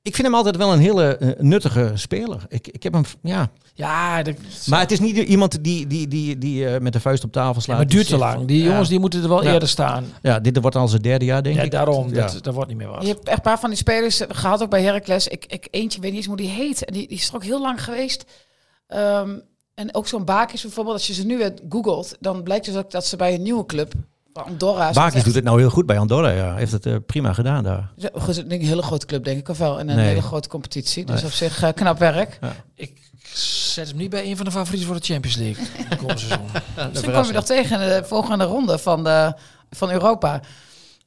ik vind hem altijd wel een hele eh, nuttige speler. Ik, ik heb hem, ja.
Ja, dat,
Maar het is niet iemand die, die, die, die eh, met de vuist op tafel slaat.
maar het duurt te
Die zegt
lang.
van,
Die
ja,
jongens die moeten er wel
Ja.
eerder staan.
Ja, dit wordt al zijn derde jaar, denk
Ja,
ik.
daarom.
Ja.
Dat, dat wordt niet meer wat.
Je hebt echt een paar van die spelers gehad, ook bij Heracles. Ik, ik eentje, weet niet eens hoe die heet. En die, die is er ook heel lang geweest. Ehm, en ook zo'n Bakis bijvoorbeeld, als je ze nu weer googelt, dan blijkt dus ook dat ze bij een nieuwe club, bij Andorra... is
Bakis
echt-
doet het nou heel goed bij Andorra. Ja. Heeft het eh, prima gedaan daar.
Zo- goed, ik denk Een hele grote club, denk ik of wel. En een
Nee.
hele grote competitie. Dus
Nee.
op zich eh, knap werk.
Ik zet hem niet bij een van de favorieten voor de Champions League. De komende seizoen. Dus
Misschien kom je nog tegen in de volgende ronde van, de, van Europa.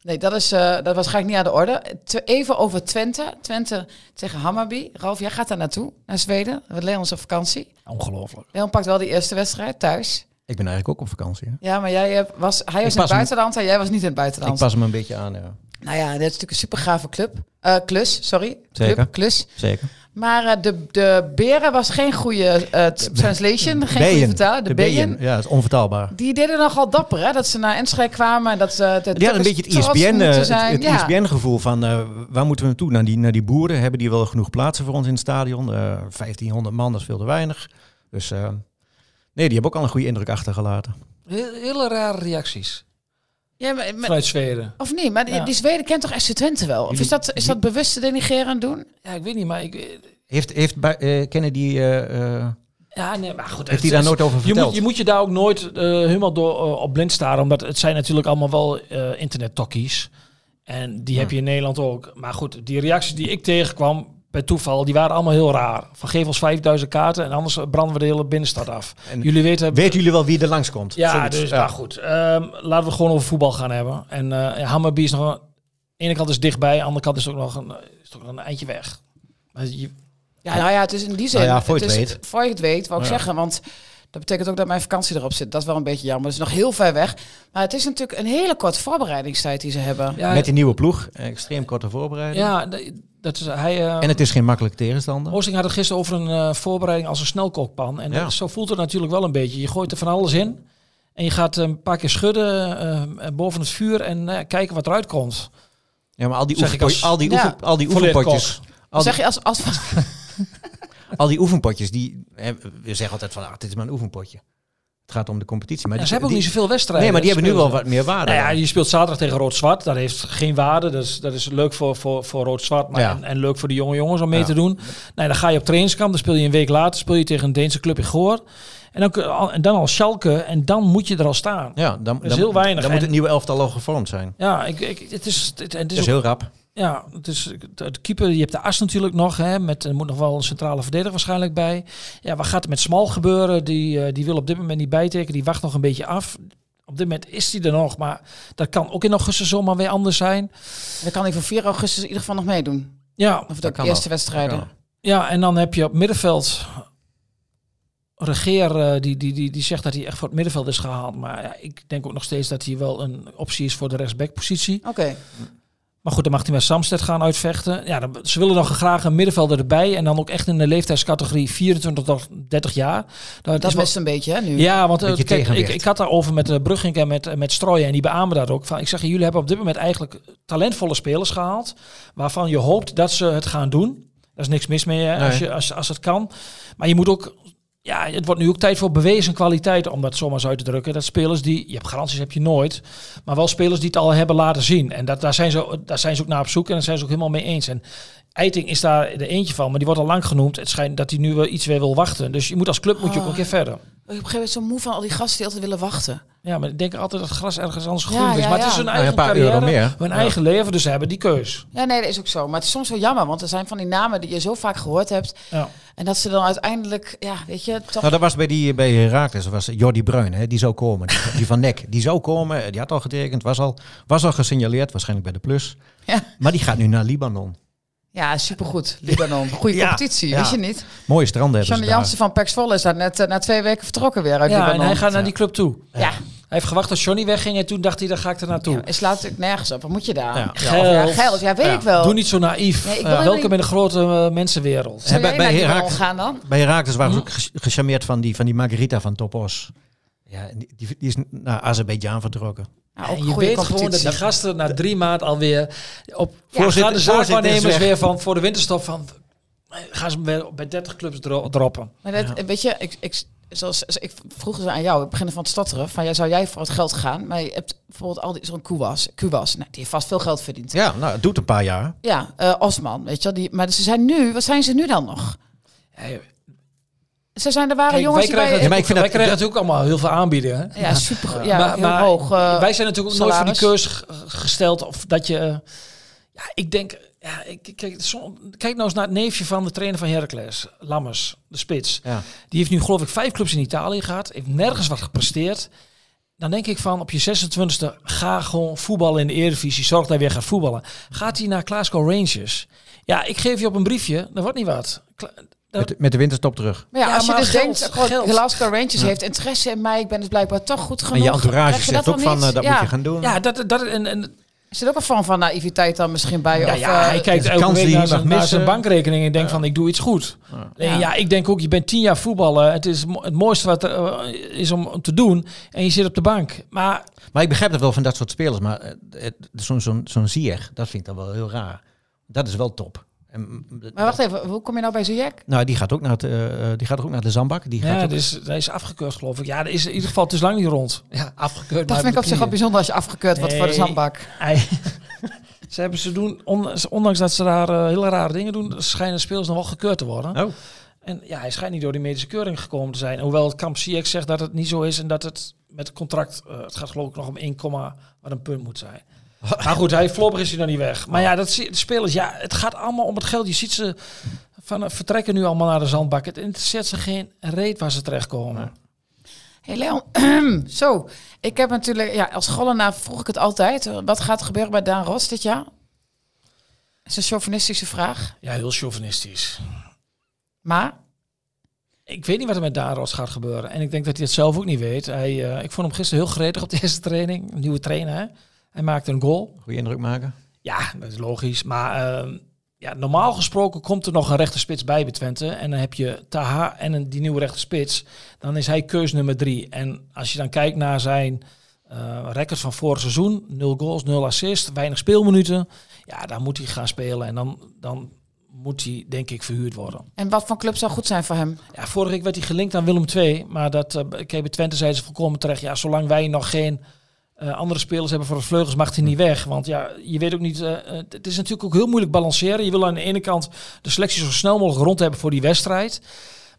Nee, dat, is, eh dat was ik niet aan de orde. Tw- Even over Twente. Twente tegen Hammarby. Ralf, jij gaat daar naartoe, naar Zweden. We Leon is op vakantie.
Ongelooflijk.
Leon pakt wel die eerste wedstrijd thuis.
Ik ben eigenlijk ook op vakantie. hè.
Ja, maar jij eh, was, hij was in
pas
het
hem-
buitenland en jij was niet in het
Ik
buitenland.
pas hem een beetje aan, ja.
Nou ja, dit is natuurlijk een super gave club. Eh, klus, sorry.
Zeker.
Club, klus.
Zeker.
Maar eh, de, de beren was geen goede eh, t- translation, geen goede
Beien.
vertaling. De, beien.
Ja, dat is onvertaalbaar.
Die deden nogal dapper, hè? Dat ze naar Enschede kwamen en dat ze... de
Die hadden een
Tukkers
beetje het
trots
ISBN, eh,
moeten
het,
zijn.
het
ja.
ISBN-gevoel van eh, waar moeten we naartoe? Naar die, naar die boeren, hebben die wel genoeg plaatsen voor ons in het stadion? Eh, 1500 man, dat is veel te weinig. Dus eh, nee, die hebben ook al een goede indruk achtergelaten.
Heel, hele rare reacties.
Ja, maar- maar-
Vanuit Zweden.
of niet? Maar die-
Ja.
die Zweden kent toch FC Twente wel? Of is dat, is dat bewust te denigreren doen?
Ja, ik weet niet, maar ik... eh,
Heeft, heeft bij- eh, kennen die, eh, eh,
Ja, nee, maar goed.
heeft hij daar nooit over
je
verteld?
moet, je moet je daar ook nooit eh, helemaal door, eh, op blind staren. Omdat het zijn natuurlijk allemaal wel eh internettokkies. En die heb je in Nederland ook. Maar goed, die reacties die ik tegenkwam bij toeval, die waren allemaal heel raar. Van geef ons 5000 kaarten en anders branden we de hele binnenstad af.
En
Jullie weten...
Weten jullie wel wie er langskomt?
Ja,
Zoiets.
dus nou goed. Ehm, laten we het gewoon over voetbal gaan hebben. En eh, ja, Hammarby is nog een... aan de ene kant is dichtbij, aan de andere kant is het ook nog een, is het ook nog een eindje weg. Maar je,
Ja, nou ja, het is in die zin...
Nou ja, voor je
is,
het weet.
Voor je het weet, wou ik zeggen. Want dat betekent ook dat mijn vakantie erop zit. Dat is wel een beetje jammer. Dat is nog heel ver weg. Maar het is natuurlijk een hele korte voorbereidingstijd die ze hebben.
ja,
Met die nieuwe ploeg, eh, extreem korte voorbereiding.
ja, d- dat is, hij, eh,
En het is geen makkelijke tegenstander.
Oosting had het gisteren over een eh, voorbereiding als een snelkookpan. En
Ja.
dat- zo voelt het natuurlijk wel een beetje. Je gooit er van alles in. En je gaat een paar keer schudden eh, eh, boven het vuur en eh, kijken wat eruit komt.
Ja, maar al die,
Zeg ik
oefenpot-
als
al die,
Ja.
oefen- al die
Volleerd
oefenpotjes... Al die,
zeg je als, als
al die oefenpotjes, die, hè, we zeggen altijd van, ah, dit is maar een oefenpotje. Het gaat om de competitie. Maar
Ja,
die,
ze hebben ook
die-
niet zoveel wedstrijden. dus
Nee, maar die hebben nu
Spelen
wel
ze.
wat meer waarde.
Nou ja,
dan.
je speelt zaterdag tegen Rood-Zwart. Dat heeft geen waarde. Dat is, dat is leuk voor, voor, voor Rood-Zwart maar
Ja.
en, en leuk voor de jonge jongens om mee
Ja.
te doen. Nee, dan ga je op trainingskamp. Dan speel je een week later speel je tegen een Deense club in Goor. En dan, kun- al- en dan al Schalke. En dan moet je er al staan.
Ja, dan,
is
dan-
heel weinig.
Dan moet
En-
het nieuwe elftal al gevormd zijn.
Ja, ik, ik, het is, het, het is
Dat is
ook
heel rap.
Ja, dus de keeper, je hebt de as natuurlijk nog. Hè, met, er moet nog wel een centrale verdediger waarschijnlijk bij. Ja, wat gaat er met Smal gebeuren? Die, eh, die wil op dit moment niet bijtekenen. Die wacht nog een beetje af. Op dit moment is die er nog, maar dat kan ook in augustus zomaar weer anders zijn.
Dan kan hij voor 4 augustus in ieder geval nog meedoen.
Ja,
Of de
Dat kan
eerste
wel.
wedstrijden.
Dat kan
ja en dan heb je op middenveld... Regeer, eh, die, die, die, die zegt dat hij echt voor het middenveld is gehaald. Maar ja, ik denk ook nog steeds dat hij wel een optie is voor de rechtsbackpositie.
Oké.
Maar goed, dan mag hij met Samsted gaan uitvechten. Ja, dan, ze willen dan graag een middenvelder erbij. En dan ook echt in de leeftijdscategorie 24 tot 30 jaar. Nou,
Dat is
wel-
best een beetje, hè, nu.
Ja, want eh,
Beetje
kijk, ik,
tegenwicht.
ik had daarover met eh, Brugink en met, eh, met Strooien. En die beamen dat ook. Van, ik zeg, jullie hebben op dit moment eigenlijk talentvolle spelers gehaald. Waarvan je hoopt dat ze het gaan doen. Daar is niks mis mee eh, als,
Nee.
je, als, als het kan. Maar je moet ook ja, het wordt nu ook tijd voor bewezen kwaliteit, om dat zomaar zo uit te drukken. Dat spelers die, je hebt garanties heb je nooit, maar wel spelers die het al hebben laten zien. En dat, daar, zijn ze, daar zijn ze ook naar op zoek en daar zijn ze ook helemaal mee eens. En Eiting is daar de eentje van, maar die wordt al lang genoemd. Het schijnt dat hij nu wel iets weer wil wachten. Dus je moet als club
Ah.
moet je ook een keer verder.
Ik ben op een gegeven moment zo moe van al die gasten die altijd willen wachten.
Ja, maar ik denk altijd dat gras ergens anders
Ja,
groen is.
ja,
Maar het
ja.
is hun
Nou,
eigen
een paar
carrière,
euro meer.
hun
Ja.
eigen leven, dus ze hebben die keus.
Ja, nee, dat is ook zo. Maar het is soms wel jammer, want er zijn van die namen die je zo vaak gehoord hebt.
Ja.
En dat ze dan uiteindelijk, ja, weet je, toch...
Nou, dat was bij, die, bij Herakles, was Jordi Bruin, hè, die zou komen. Die, die van Nek, die zou komen. Die had al getekend, was al, was al gesignaleerd, waarschijnlijk bij de Plus.
Ja.
Maar die gaat nu naar Libanon.
Ja, supergoed, Libanon. Goede
Ja,
competitie,
ja.
wist je niet?
Mooie stranden hebben
Janne
ze daar.
Jansen van Pax Volle is daar net eh, na twee weken vertrokken weer uit
Ja, en
Libanon.
hij gaat naar die club toe.
Ja, ja.
Hij heeft gewacht als Johnny wegging en toen dacht hij, daar ga ik er naartoe.
het slaat natuurlijk nergens op. Wat moet je daar?
Ja.
Ja,
Geld.
ja, geld. Ja, weet
Ja.
ik wel.
Doe niet zo naïef.
Nee, ik wil
Eh,
helemaal
welkom
niet-
in de grote eh, mensenwereld.
Zou
Hè,
jij
bij- bij
naar Libanon
Herakles-
gaan dan?
Bij Herakles waren ze ook ge- gecharmeerd van die, van die Margarita van Topos. Ja, en die, die die is naar Azerbeidzjan vertrokken.
Ja,
En
ook
je
goede
weet gewoon dat die
competitie.
gasten na drie maanden alweer op
Voorzitter-
gaan de
voorzitter is
zaakwaarnemers
weg.
weer van voor de winterstop van eh, gaan ze hem weer bij 30 clubs dro- droppen.
Maar dat, weet je, ik, ik, zoals, als ik vroeg ze aan jou, het begin van het stotteren, van jij zou jij voor het geld gaan, maar je hebt bijvoorbeeld al die, zo'n Kuwas, Kuwas, nou, die heeft vast veel geld verdiend. Ja,
Ja, nou, het doet een paar jaar.
eh, Osman, weet je wel, die, maar ze zijn nu, wat zijn ze nu dan nog?
Hey,
Ze zijn, er waren
kijk, wij
jongens die
krijgen,
bij...
het
Ja, maar
ook-
ik vind
wij
dat-
krijgen natuurlijk allemaal heel veel aanbieden. hè.
ja, super, ja,
Maar-
heel
maar
hoog. eh,
wij zijn natuurlijk ook nooit voor die
salaris.
keurs g- gesteld of dat je... eh, ja, ik denk... Ja, ik, ik- kijk, som- kijk nou eens naar het neefje van de trainer van Heracles, Lammers, de spits.
Ja.
Die heeft nu geloof ik vijf clubs in Italië gehad. Heeft nergens wat gepresteerd. Dan denk ik van op je 26e ga gewoon voetballen in de Eredivisie. Zorg dat hij weer gaat voetballen. Gaat hij naar Glasgow Rangers? Ja, ik geef je op een briefje. Dat wordt niet wat. Kla- dat-
Met, met de winterstop terug.
Maar ja,
Ja,
als
maar
je dus
geld,
denkt, gewoon,
geld.
Glasgow Rangers heeft interesse in mij, ik ben dus blijkbaar toch goed genoeg.
en je entourage
Krijg
zegt
dat dan
ook van,
niet?
eh, dat
ja.
moet je gaan doen.
ja, dat, dat, en, en,
Er zit ook een vorm van naïviteit dan misschien bij?
ja,
of,
ja,
eh,
hij kijkt
de
elke
kans
week
die je
naar zijn,
mag
naar
missen.
zijn bankrekening en denkt van ik doe iets goed. Alleen, Ja. ik denk ook, je bent tien jaar voetballen. Het is mo- het mooiste wat er eh, is om, om te doen. En je zit op de bank. Maar
Maar ik begrijp dat wel van dat soort spelers. Maar eh, het- zo'n zo'n zo'n Ziyech, dat vind ik dan wel heel raar. Dat is wel top. En, mm,
Maar wacht even, hoe kom je nou bij Ziyech?
Nou, die gaat ook naar, het, eh, eh, die gaat ook naar de Zandbak. Die gaat
ja,
ook-
dat is, dat is afgekeurd geloof ik. Ja, dat is in ieder geval, het is lang niet rond. Ja, afgekeurd.
Dat
maar
vind ik op zich wel
knieën.
bijzonder als je afgekeurd wordt voor de
Nee.
zandbak.
Ei. ze hebben ze doen, on- ondanks dat ze daar eh, hele rare dingen doen, schijnen spelers nog wel gekeurd te worden.
Oh,
En ja, hij schijnt niet door die medische keuring gekomen te zijn. Hoewel het kamp CX zegt dat het niet zo is en dat het met het contract, eh, het gaat geloof ik nog om 1, komma wat een punt moet zijn. Maar goed, hij flopper is hij dan niet weg. Maar ja, dat zie, de spelers, ja, het gaat allemaal om het geld. Je ziet ze van, eh, vertrekken nu allemaal naar de zandbak. Het interesseert ze geen reet waar ze terechtkomen.
Hey Leon, zo. Ik heb natuurlijk, ja, als Gollenaar vroeg ik het altijd. eh, Wat gaat er gebeuren bij Daan Ros dit jaar? Dat is een chauvinistische vraag.
Ja, heel chauvinistisch.
Maar,
Ik weet niet wat er met Daros gaat gebeuren. En ik denk dat hij het zelf ook niet weet. Hij, eh, ik vond hem gisteren heel gretig op de eerste training. Een nieuwe trainer, hè? Hij maakte een goal.
goede indruk maken.
Ja, dat is logisch. Maar ehm, ja, normaal gesproken komt er nog een rechte spits bij bij Twente. En dan heb je Taha en een, die nieuwe rechte spits. Dan is hij keus nummer drie. En als je dan kijkt naar zijn eh record van vorig seizoen. Nul goals, nul assists, weinig speelminuten. Ja, dan moet hij gaan spelen. En dan, dan moet hij denk ik verhuurd worden.
en wat voor club zou goed zijn voor hem?
Ja, vorige week werd hij gelinkt aan Willem II. Maar dat eh KB Twente zei ze volkomen terecht. Ja, zolang wij nog geen eh, andere spelers hebben voor de vleugels, mag hij niet weg. Want ja, je weet ook niet. eh, eh, het is natuurlijk ook heel moeilijk balanceren. Je wil aan de ene kant de selectie zo snel mogelijk rond hebben voor die wedstrijd.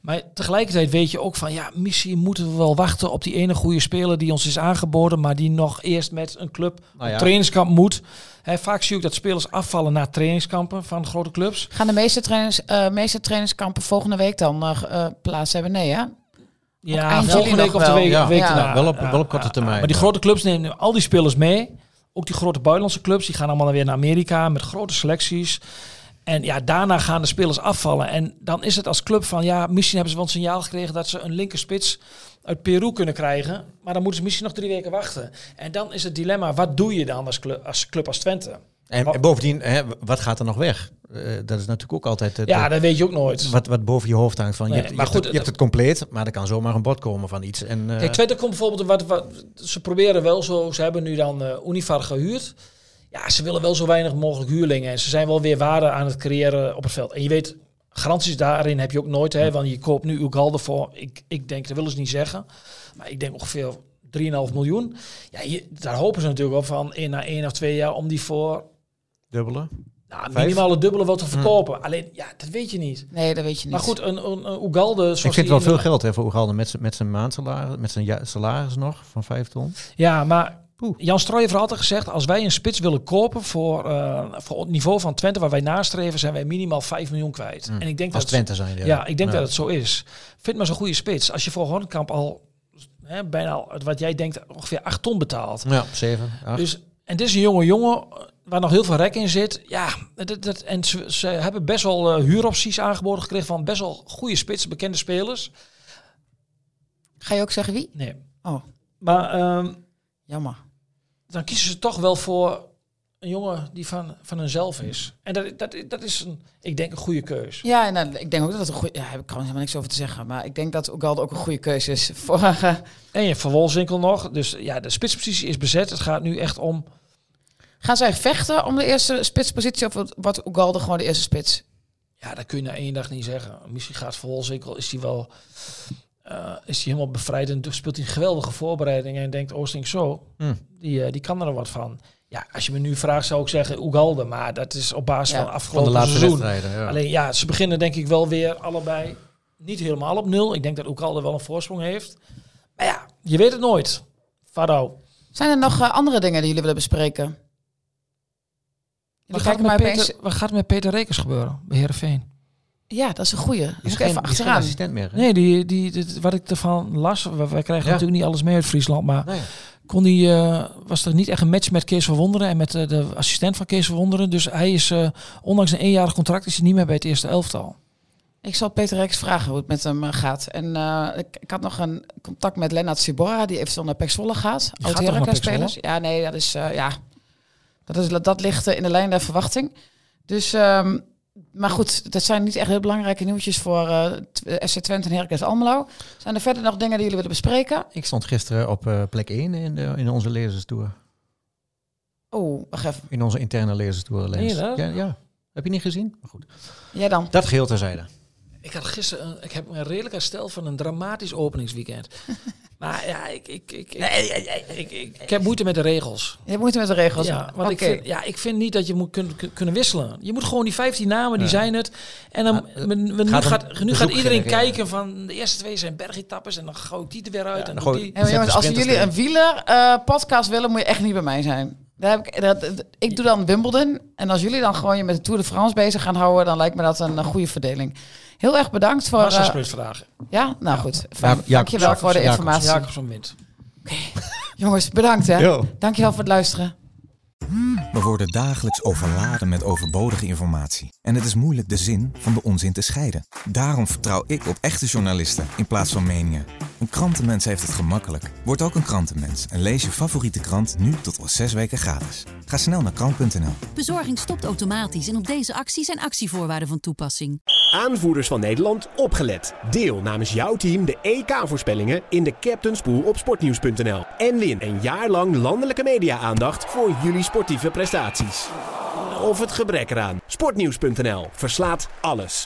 Maar tegelijkertijd weet je ook van ja, misschien moeten we wel wachten op die ene goede speler die ons is aangeboden, maar die nog eerst met een club
Nou ja.
op trainingskamp moet. Hè, vaak zie ik dat spelers afvallen na trainingskampen van grote clubs.
Gaan de meeste, trainers, eh, meeste trainingskampen volgende week dan eh, ge- eh, plaats hebben? Nee, hè?
Ja,
eind
volgende
juli
week
nog
of de
wel.
week,
Ja.
week
Ja.
erna.
Wel op-
Ja,
wel op korte
ja,
termijn.
Maar die grote clubs nemen nu al die spelers mee. Ook die grote buitenlandse clubs. Die gaan allemaal weer naar Amerika met grote selecties. En ja, daarna gaan de spelers afvallen. En dan is het als club van, ja, misschien hebben ze wel een signaal gekregen dat ze een linkerspits uit Peru kunnen krijgen. Maar dan moeten ze misschien nog drie weken wachten. En dan is het dilemma, wat doe je dan als club als, club als Twente?
En,
Wat-
en bovendien, hè, wat gaat er nog weg? Eh, dat is natuurlijk ook altijd het,
Ja,
eh,
dat weet je ook nooit.
wat, wat boven je hoofd hangt. Van,
Nee,
je, hebt,
maar
je,
goed,
hebt het, je hebt het compleet, maar er kan zomaar een bod komen van iets. En, eh,
Kijk, Twente komt bijvoorbeeld wat, wat ze proberen wel zo. Ze hebben nu dan eh Univar gehuurd. Ja, ze willen wel zo weinig mogelijk huurlingen en ze zijn wel weer waarde aan het creëren op het veld. En je weet, Garanties daarin heb je ook nooit, hè, want je koopt nu Ugalde voor, ik, ik denk, dat willen ze niet zeggen, maar ik denk ongeveer 3,5 miljoen. Ja, je- daar hopen ze natuurlijk op van in na één of twee jaar om die voor
Dubbele.
nou,
Vijf? Hm.
minimale dubbele wat te verkopen. Alleen, ja, dat weet je niet.
Nee, dat weet je niet.
Maar goed, een, een, een Ugalde... zoals
Ik
die
vind wel
in-
veel geld hè, voor Oegalde met zijn- met zijn maandsalaris, met zijn ja- salaris nog van 5 ton.
Ja, maar
Poeh.
Jan Strooijer had altijd gezegd... als wij een spits willen kopen voor, eh, voor het niveau van Twente... waar wij nastreven, zijn wij minimaal 5 miljoen kwijt. En ik denk
Hm. Mm. Als
dat
Twente zijn.
Ja, ik denk dat het zo is. Vind maar zo'n goede spits. Als je voor Hornkamp al hè, bijna al het wat jij denkt ongeveer 8 ton betaalt.
Ja, 7, 8.
Dus, en dit is een jonge jongen eh, waar nog heel veel rek in zit. Ja, dat, dat, en ze, ze hebben best wel eh, huuropties aangeboden gekregen van best wel goede spitsen, bekende spelers.
Ga je ook zeggen wie?
Nee.
Oh,
Maar ehm,
jammer.
dan kiezen ze toch wel voor een jongen die van, van hunzelf is. En dat, dat, dat is, een, ik denk, een goede keus.
Ja, en nou, ik denk ook dat het een goede... Ja, heb ik trouwens helemaal niks over te zeggen. Maar ik denk dat Ugalde ook een goede keuze is voor... eh,
En je hebt Van Wolfswinkel nog. Dus ja, de spitspositie is bezet. Het gaat nu echt om...
gaan zij vechten om de eerste spitspositie? Of wordt Ugalde gewoon de eerste spits?
Ja, dat kun je na één dag niet zeggen. Misschien gaat Van Wolfswinkel, is hij wel... eh, is hij helemaal bevrijd en speelt hij een geweldige voorbereiding. En denkt, Oosting zo,
Hm.
die, eh, die kan er wat van. Ja, als je me nu vraagt, zou ik zeggen Ugalde. Maar dat is op
Ja,
basis van
Van de
afgelopen
laatste
seizoen.
wedstrijden. Ja.
Alleen ja, ze beginnen denk ik wel weer allebei niet helemaal op nul. Ik denk dat Oekalde wel een voorsprong heeft. Maar ja, je weet het nooit. Fado.
Zijn er nog eh, andere dingen die jullie willen bespreken?
Wat
Jullie
gaat,
kijken
met
maar
Peter,
opeens...
wat gaat er met Peter Rekers gebeuren bij Heerenveen?
Ja, dat is een goeie. Daar
Die
moet
is
ik
geen-
even
die is geen
achteraan.
assistent meer. hè?
Nee, die, die, dit- wat ik ervan las, we- wij krijgen
Ja.
natuurlijk niet alles mee uit Friesland, maar
Nee.
kon die, eh, was er niet echt een match met Kees van Wonderen en met eh, de assistent van Kees van Wonderen. Dus hij is, eh, ondanks een eenjarig contract, is hij niet meer bij het eerste elftal.
Ik zal Peter Rex vragen hoe het met hem eh, gaat. En eh, ik, ik had nog een contact met Lennart Sibora, die eventueel naar Pexvolle gaat.
toch
Oud
naar
Heracles
Pek
spelers. Ja, nee, dat is, eh, ja, dat, is, dat ligt eh, in de lijn der verwachting. Dus, ehm, maar goed, dat zijn niet echt heel belangrijke nieuwtjes voor eh, Tw- eh, FC Twente en Heracles Almelo. Zijn er verder nog dingen die jullie willen bespreken?
Ik stond gisteren op eh, plek 1 in, de- in onze lezerstoer.
Oh, wacht even.
In onze interne lezerstoer.
Meen
Lens.
je dat?
Ja, ja. Heb je niet gezien? Maar goed.
Jij dan?
Dat geheel terzijde.
Ik had gisteren, een- ik heb een redelijk herstel van een dramatisch openingsweekend. maar ja, ik, ik, ik, ik, ik, ik, ik heb moeite met de regels.
Je hebt moeite met de regels.
Ja, want ik,
Oké.
vind, ja, ik vind niet dat je moet kun- kun- kunnen wisselen. Je moet gewoon die 15 namen, die
Ja.
zijn het. En dan,
Ja,
men- men- nu
gaat
gaat,
om
nu gaat
bezoek
iedereen
genereren.
kijken van de eerste twee zijn bergetappes en dan gooi ik die er weer uit.
Ja,
en
dan
doe
gooi-
Ja,
die.
maar
Zet
jongens,
de
als
sprinters
jullie een wieler-podcast willen, moet je echt niet bij mij zijn. Daar heb ik, dat, dat- ik doe dan Wimbledon. En als jullie dan gewoon je met de Tour de France bezig gaan houden, dan lijkt me dat een eh, goede verdeling. Heel erg bedankt voor. eh,
Massasprintverdragen.
ja, nou goed.
Ja,
Dankjewel
Jacobs,
voor de
Jacobs,
Dus
informatie.
Jacobson wint.
Jongens, bedankt hè.
Yo.
Dankjewel voor het luisteren.
We worden dagelijks overladen met overbodige informatie. En het is moeilijk de zin van de onzin te scheiden. Daarom vertrouw ik op echte journalisten in plaats van meningen. Een krantenmens heeft het gemakkelijk. Word ook een krantenmens en lees je favoriete krant nu tot al zes weken gratis. Ga snel naar krant.nl.
Bezorging stopt automatisch en op deze actie zijn actievoorwaarden van toepassing.
Aanvoerders van Nederland, opgelet. Deel namens jouw team de EK-voorspellingen in de Captain's Pool op sportnieuws.nl. En win een jaar lang landelijke media-aandacht voor jullie sportieve prestaties. Of het gebrek eraan. Sportnieuws.nl verslaat alles.